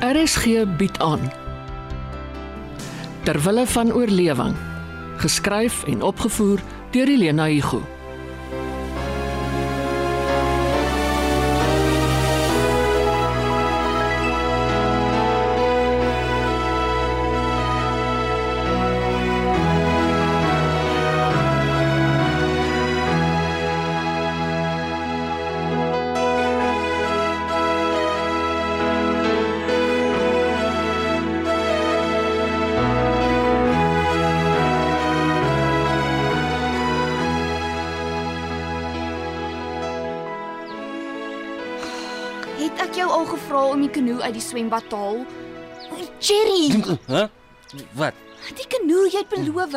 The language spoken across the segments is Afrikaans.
RSG bied aan Terwille van oorlewing geskryf en opgevoer deur Elena Igu Het ek jou al gevra om die kanoe uit die swembad te haal? Cherry, Hæ? Wat? Die kanoe, jy het beloof.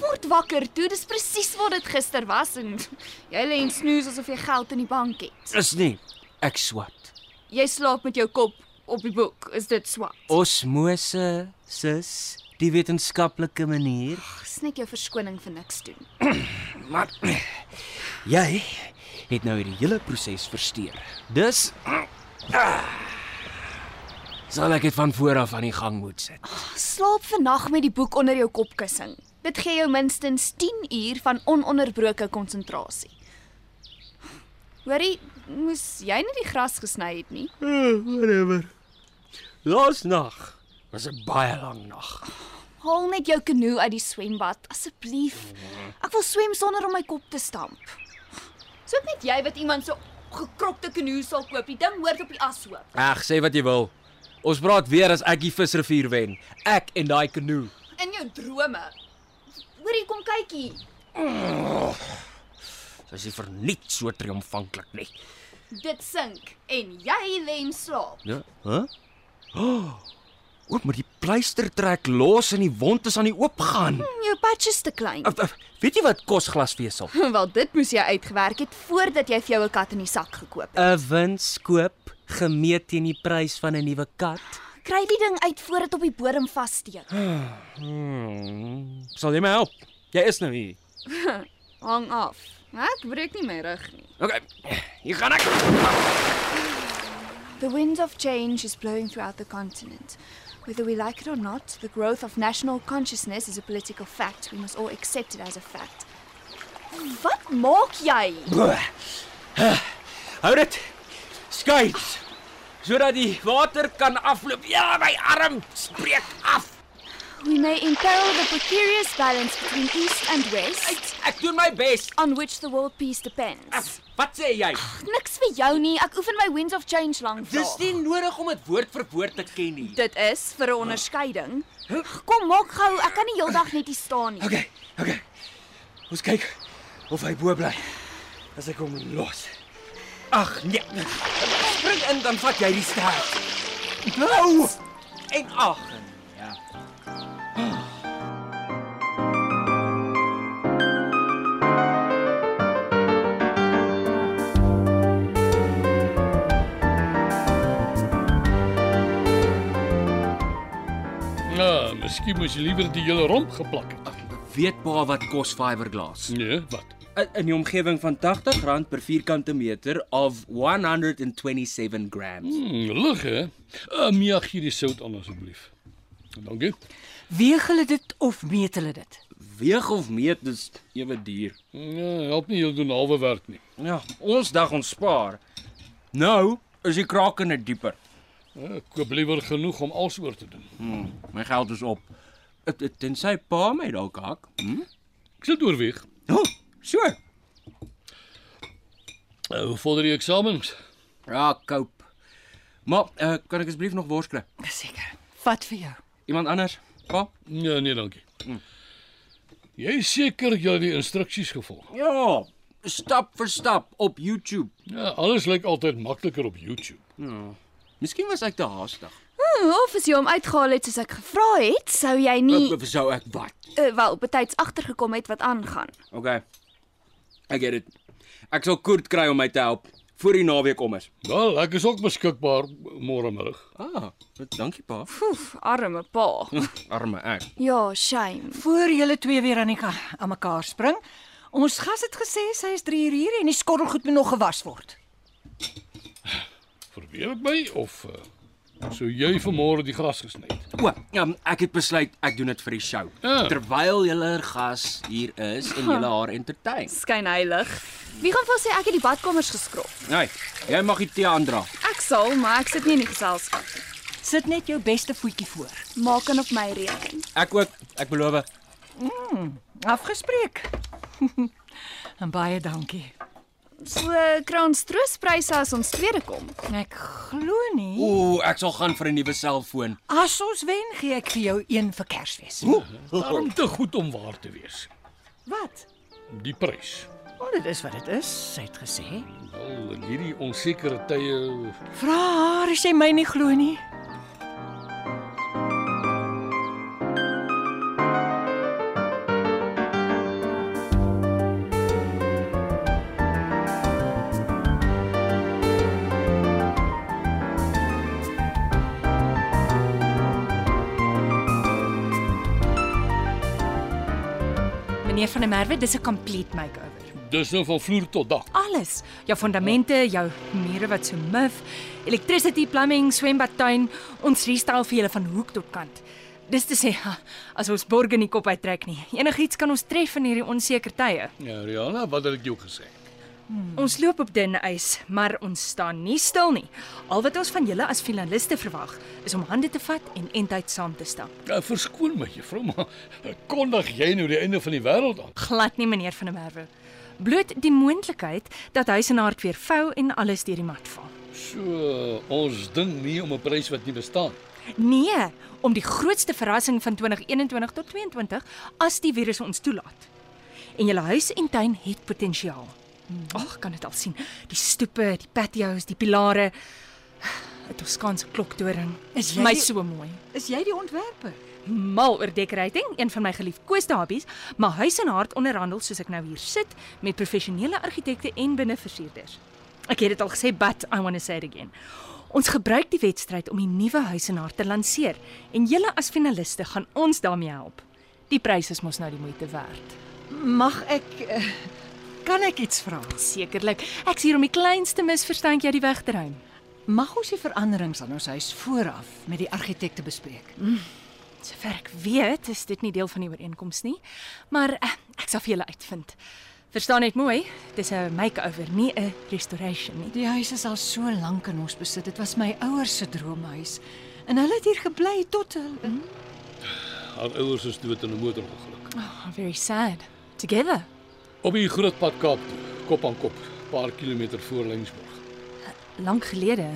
Word wakker toe, dis presies wat dit gister was en jy lê en snoes asof jy geld in die bank het. Is nie. Ek swat. Jy slaap met jou kop op die boek. Is dit swak? Osmose, sis, die wetenskaplike manier. Snik jou verskoning vir niks doen. Maar jy het nou hierdie hele proses versteur. Dus ah, sal ek dit van voor af aan die gang moet sit. Slaap vannag met die boek onder jou kopkussing. Dit gee jou minstens 10 uur van ononderbroke konsentrasie. Hoorie, moes jy nie die gras gesny het nie? Uh, whatever. Laasnag was 'n baie lang nag. Haal net jou kanoe uit die swembad, asseblief. Ek wil swem sonder om my kop te stamp. Soek net jy wat iemand so gekropte kanoe sal koop. Die ding hoort op die ashoop. Ag, sê wat jy wil. Ons praat weer as ek die visrivier wen. Ek en daai kanoe. In jou drome. Hoorie, kom kykie. Sy is nie verniet so triomfantlik nie. Dit sink en jy lê en slaap. Ja, hè? Huh? Oh, oop, maar die pleister trek los en die wond is aan die oop gaan. Jou patches te klein. Uh, uh, weet jy wat kos glasvesel? Wel, dit moes jy uitgewerk het voordat jy vir jou 'n kat in die sak gekoop het. 'n Wins koop gemeet teen die prys van 'n nuwe kat. Kry die ding uit voor dit op die bodem vassteek. Hmm, sal jy my help? Jy is nou hier. Hang af. Ek breek nie my rug nie. Okay. Hier gaan ek. The wind of change is blowing throughout the continent. Whether we like it or not, the growth of national consciousness is a political fact. We must all accept it as a fact. Wat maak jy? Hou dit. Skei. Sodat die water kan afloop. Ja, my arm spreek af. We may imperil the precarious balance between east and west Uit. Ek doen my bes. on which the world peace depends. Af. Wat sê jy? Niks vir jou nie. Ek oefen my winds of change lank Dis nie nodig om dit woord vir woord te ken nie. Dit is vir 'n onderskeiding. Kom maak gou, ek kan nie heeldag net hier staan nie. Okay, okay. Ons kyk of hy bo bly. As ek hom los. Ag nee. Spring in dan vat jy die staart. Nou. En ag. Ja. Ja, miskien moes jy liewer die hele romp geplak het. Weet pa wat kos fiberglas? Nee, wat? In die omgewing van R80 per vierkante meter of 127 grams. Hmm, lig hè. Uh, Mia gee die sout aan asseblief. Dankie. Weeg hulle dit of meet hulle dit? Weeg of meet dis ewe duur. Ja, help nie heel doen halwe werk nie. Ja, ons dag ons spaar. Nou is die krakende dieper. Uh, koop liewer genoeg om alles oor te doen. My geld is op. Het- het- Tensy pa my dalk hak. Hm? Ek sit oorweeg. Oh, so. Uh, hoe vorder die eksamens? Ja, koop. Maar uh, kan ek asseblief nog wors kry? Seker. Vat vir jou. Iemand anders? Pa? Nee, nee, dankie. Jy is seker jy het die instruksies gevolg. Ja, stap vir stap op YouTube. Ja, alles lyk altyd makliker op YouTube. Miskien was ek te haastig. Hmm, Of as jy hom uitgehaal het soos ek gevra het, sou jy nie Ek sou ek wat. uh, wel betyds agtergekom het wat aangaan. Okay. Ek het dit. Ek sal Koert kry om my te help voor die naweek om is. Wel, ek is ook beskikbaar môre middag. Ah, dankie pa. Poef, arme pa. Arme ek. Ja, shame. Voor julle twee weer aan die ka- aan mekaar spring. Ons gas het gesê sy is 3 uur hier en die skottelgoed moet nog gewas word. Verweer dit my of uh, So jy vanmôre die gras gesny. O, um, ek het besluit ek doen dit vir die show. Ja. Terwyl julle gas hier is en julle haar entertain. Skyn heilig. Wie gaan vir ons sê ek het die badkamers geskrop? Nee, jy mag die tee aandra. Ek sal, maar ek sit nie in die geselskap. Sit net jou beste voetjie voor. Maak aan op my rekening. Ek ook, ek beloof. Afgespreek. en baie dankie. So kry ons troospryse as ons tweede kom. Ek glo nie. Ooh, ek sal gaan vir 'n nuwe selfoon. As ons wen, gee ek vir jou een vir Kersfees. Daarom te goed om waar te wees. Wat? Die prys. Oh, dit is wat dit is, sy het gesê. Wel, in hierdie onsekere tye Vra haar as jy my nie glo nie. Meneer van der Merwe, dis 'n complete makeover. dis nou van vloer tot dak. Alles, jou fondamente, jou mure wat so mif, electricity, plumbing, swembadtuin, ons restel vir julle van hoek tot kant. Dis te sê, ha, as ons borg in die kop uittrek nie. Enigiets kan ons tref in hierdie onseker tye. Ja, Rihanna, wat het ek jou gesê? Ons loop op dun ys, maar ons staan nie stil nie. Al wat ons van julle as finaliste verwag, is om hande te vat en entheid saam te stap. Ja, verskoon my juffrou, maar kondig jy nou die einde van die wêreld aan? Glad nie meneer van der Merwe. Bloot die moontlikheid dat hy sy hart weer vou en alles deur die mat val. So, ons ding nie om 'n prys wat nie bestaan. Nee, om die grootste verrassing van 2021 tot 22 as die virus ons toelaat. En julle huis en tuin het potensiaal. Hmm. Ag, kan dit al sien. Die stoepe, die patio's, die pilare. 'n Toskaanse kloktoring. Is Is jy my die- so mooi. Is jy die ontwerper? Mal oor decorating, een van my geliefkoeste hobbies, maar huis en hart onderhandel soos ek nou hier sit met professionele argitekte en binneversierders. Ek het dit al gesê, but I want to say it again. Ons gebruik die wedstryd om die nuwe huis en hart te lanseer en julle as finaliste gaan ons daarmee help. Die prys is mos nou die moeite werd. Mag ek eh, kan ek iets vra? Sekerlik. Ek's hier om die kleinste misverstandjie uit die weg te ruim. Mag ons die veranderings aan ons huis vooraf met die argitekte bespreek? Sover ek weet, is dit nie deel van die ooreenkoms nie, maar eh, ek sal vir julle uitvind. Verstaan net mooi, dis 'n makeover, nie 'n restoration nie. Die huis is al so lank in ons besit. Dit was my ouers se droomhuis. En hulle het hier gebly tot hulle mm. Haar ouers is dood in 'n motorongeluk. Oh, very sad. Together. Op die groot pad Kaap toe, kop aan kop, paar kilometer voor Lensburg. Lank gelede.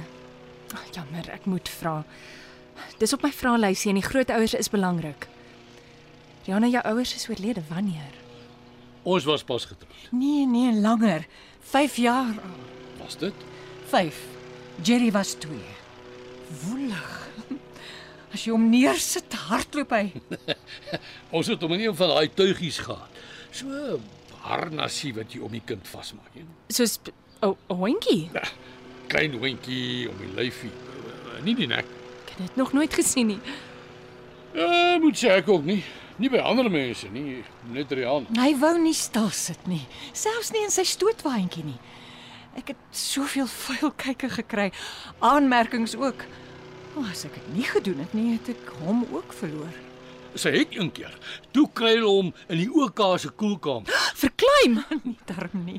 Oh, jammer, ek moet vra. Dis op my vraelysie en die grootouers is belangrik. Rihanna, jou ouers is oorlede wanneer? Ons was pas getroud. Nee, nee, langer. 5 jaar al. Was dit? 5. Jerry was 2. Woelig. As jy hom neersit, hardloop hy. Ons het hom in een van daai tuigies gehad. So harnasie wat jy om die kind vasmaak, hè. Soos 'n oh, hondjie. Ja, Klein hondjie om die lyfie, Eh, nie die nek. Ek het dit nog nooit gesien nie. Ja, moet sê ek ook nie. Nie by ander mense nie, net Rihanna. Hy wou nie stil sit nie, selfs nie in sy stootwaandjie nie. Ek het soveel vuil kykke gekry, aanmerkings ook. O, as ek dit nie gedoen het nie, het ek hom ook verloor. Sy het een keer. Toe kry hulle hom in die OK se koelkamer. Verkleim. Nie darm nie.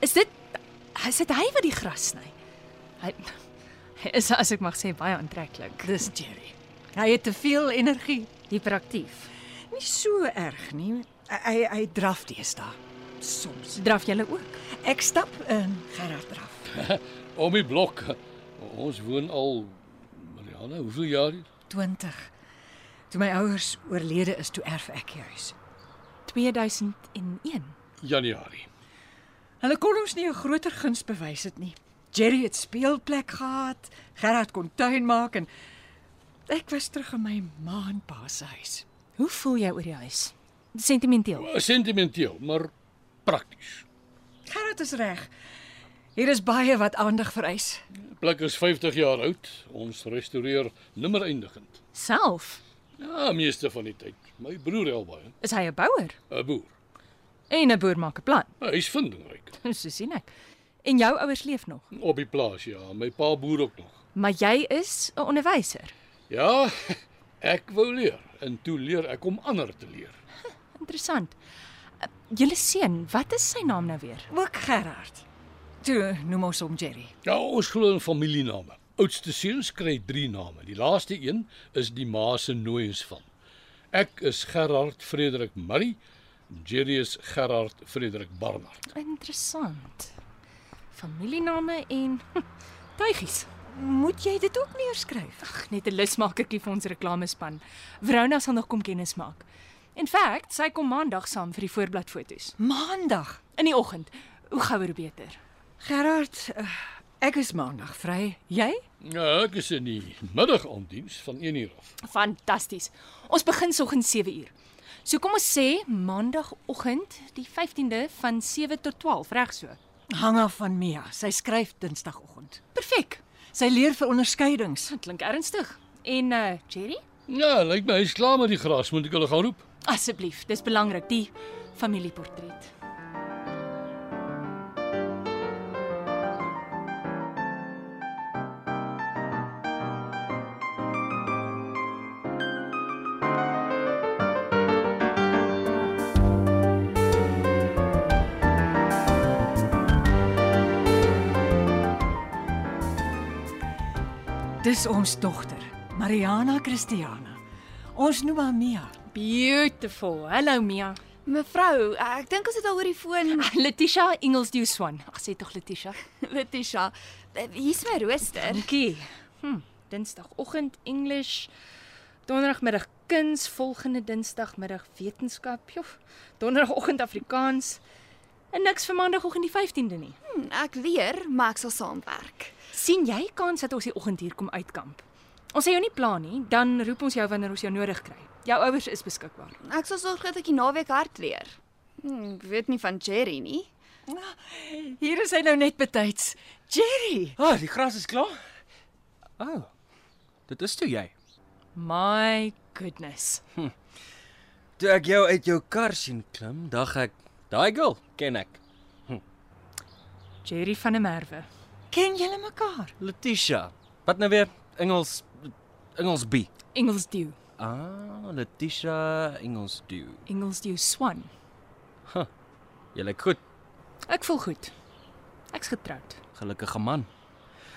Is dit is dit hy wat die gras sny? Hy hy is as ek mag sê baie aantreklik. Dis Jerry. Hy het te veel energie. Hiperaktief. Nie so erg nie. Hy hy, hy draf teesta. Soms. Draf jy ook? Ek stap in Gerard draf. Om die blok. Ons woon al Mariana, hoeveel jaar hier? 20. Toe my ouers oorlede is, toe erf ek die huis. 2001. Januarie. Hulle kon ons nie 'n groter guns bewys het nie. Jerry het speelplek gehad, Gerard kon tuin maak en ek was terug in my ma en pa se huis. Hoe voel jy oor die huis? Sentimenteel. Sentimenteel, maar prakties. Gerard is reg. Hier is baie wat aandag vereis. Die plek is 50 jaar oud. Ons restoreer nimmer eindigend. Self. Ja, meeste van die tyd. My broer help baie, Is hy 'n bouer? 'n boer. En 'n boer maak 'n plan. Hy's vindingryk. So sien ek. En jou ouers leef nog, Op die plaas ja, my pa boer ook nog. maar jy is 'n onderwyser. Ja, ek wou leer en toe leer ek om ander te leer. Interessant. Uh, Julle seun, wat is sy naam nou weer? Ook Gerard. Toe noem ons hom Jerry. Ja, ons glo in familiename. Oudste seuns kry 3 name. Die laaste een is die ma se nooiens van. Ek is Gerard Frederik Murray. Jerry is Gerard Frederik Barnard. Interessant. Familiename en hm, tuigies. Moet jy dit ook neerskryf? Ag, net 'n lusmakertjie vir ons reklamespan. Verona sal nog kom kennis maak. In feite, sy kom maandag saam vir die voorbladfoto's. Maandag. In die oggend. Hoe gouer hoe beter. Gerard, eh, ek is maandag vry. Jy? Ja, ek is in die middag aan diens van 1 uur af. Fantasties. Ons begin soggens 7uur. So kom ons sê maandagoggend, die 15de van 7 tot 12, reg so. Hang af van Mia. Sy skryf dinsdagoggend. Perfek. Sy leer vir onderskeidings. Dit klink ernstig. En uh Jerry? Ja, lyk my hy's klaar met die gras, moet ek hulle gaan roep. Asseblief, dis belangrik die familieportret. Dis ons dogter, Mariana Christiana. Ons noem haar Mia. Beautiful. Hallo Mia. Mevrou, ek dink ons het al oor die foon Letitia Engelsdew Swan. Ag sê tog Letitia. Letitia. eh, Hier's my rooster. Dankie. Hm, Dinsdagoggend English. Donderdagmiddag kuns, volgende Dinsdagmiddag wetenskap. Jof. Donderdagoggend Afrikaans. En niks vir Maandagoggend die 15de nie. Hm, Ek leer, maar ek sal saamwerk. sien jy kans dat ons die oggend hier kom uitkamp? Ons sê jou nie plan nie, dan roep ons jou wanneer ons jou nodig kry. Jou ouers is beskikbaar. Ek sal sorg dat ek die naweek hard leer. Hm, ek weet nie van Jerry nie. Hier is hy nou net betyds. Jerry. Ah, die gras is klaar. Ou. Oh, dit is toe jy. My goodness. Toe ek jou uit jou kar sien klim, dag ek, daai girl ken ek. Jerry van der Merwe. Ken julle mekaar? Letitia. Wat nou weer? Engels Engels B. Engelsdew. Ah, Letitia Engels duo. Engelsdew Swan. Jy lyk goed. Ek voel goed. Ek's getroud. Gelukkige man.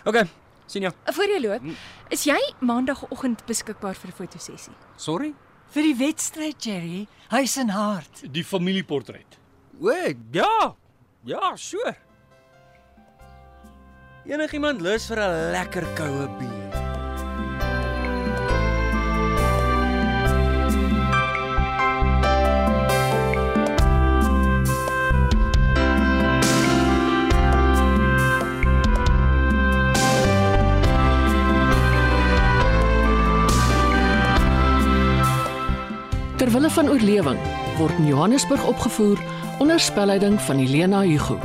OK, sien jou. Voor jy loop, is jy maandagooggend beskikbaar vir 'n fotosessie? Sorry. Vir die wedstryd Jerry, huis en hart. Die familieportret. O, ja. Ja, sure. Enigiemand lus vir 'n lekker koue bier? Ter wille van oorlewing word in Johannesburg opgevoer onder spelleiding van Elena Hugo.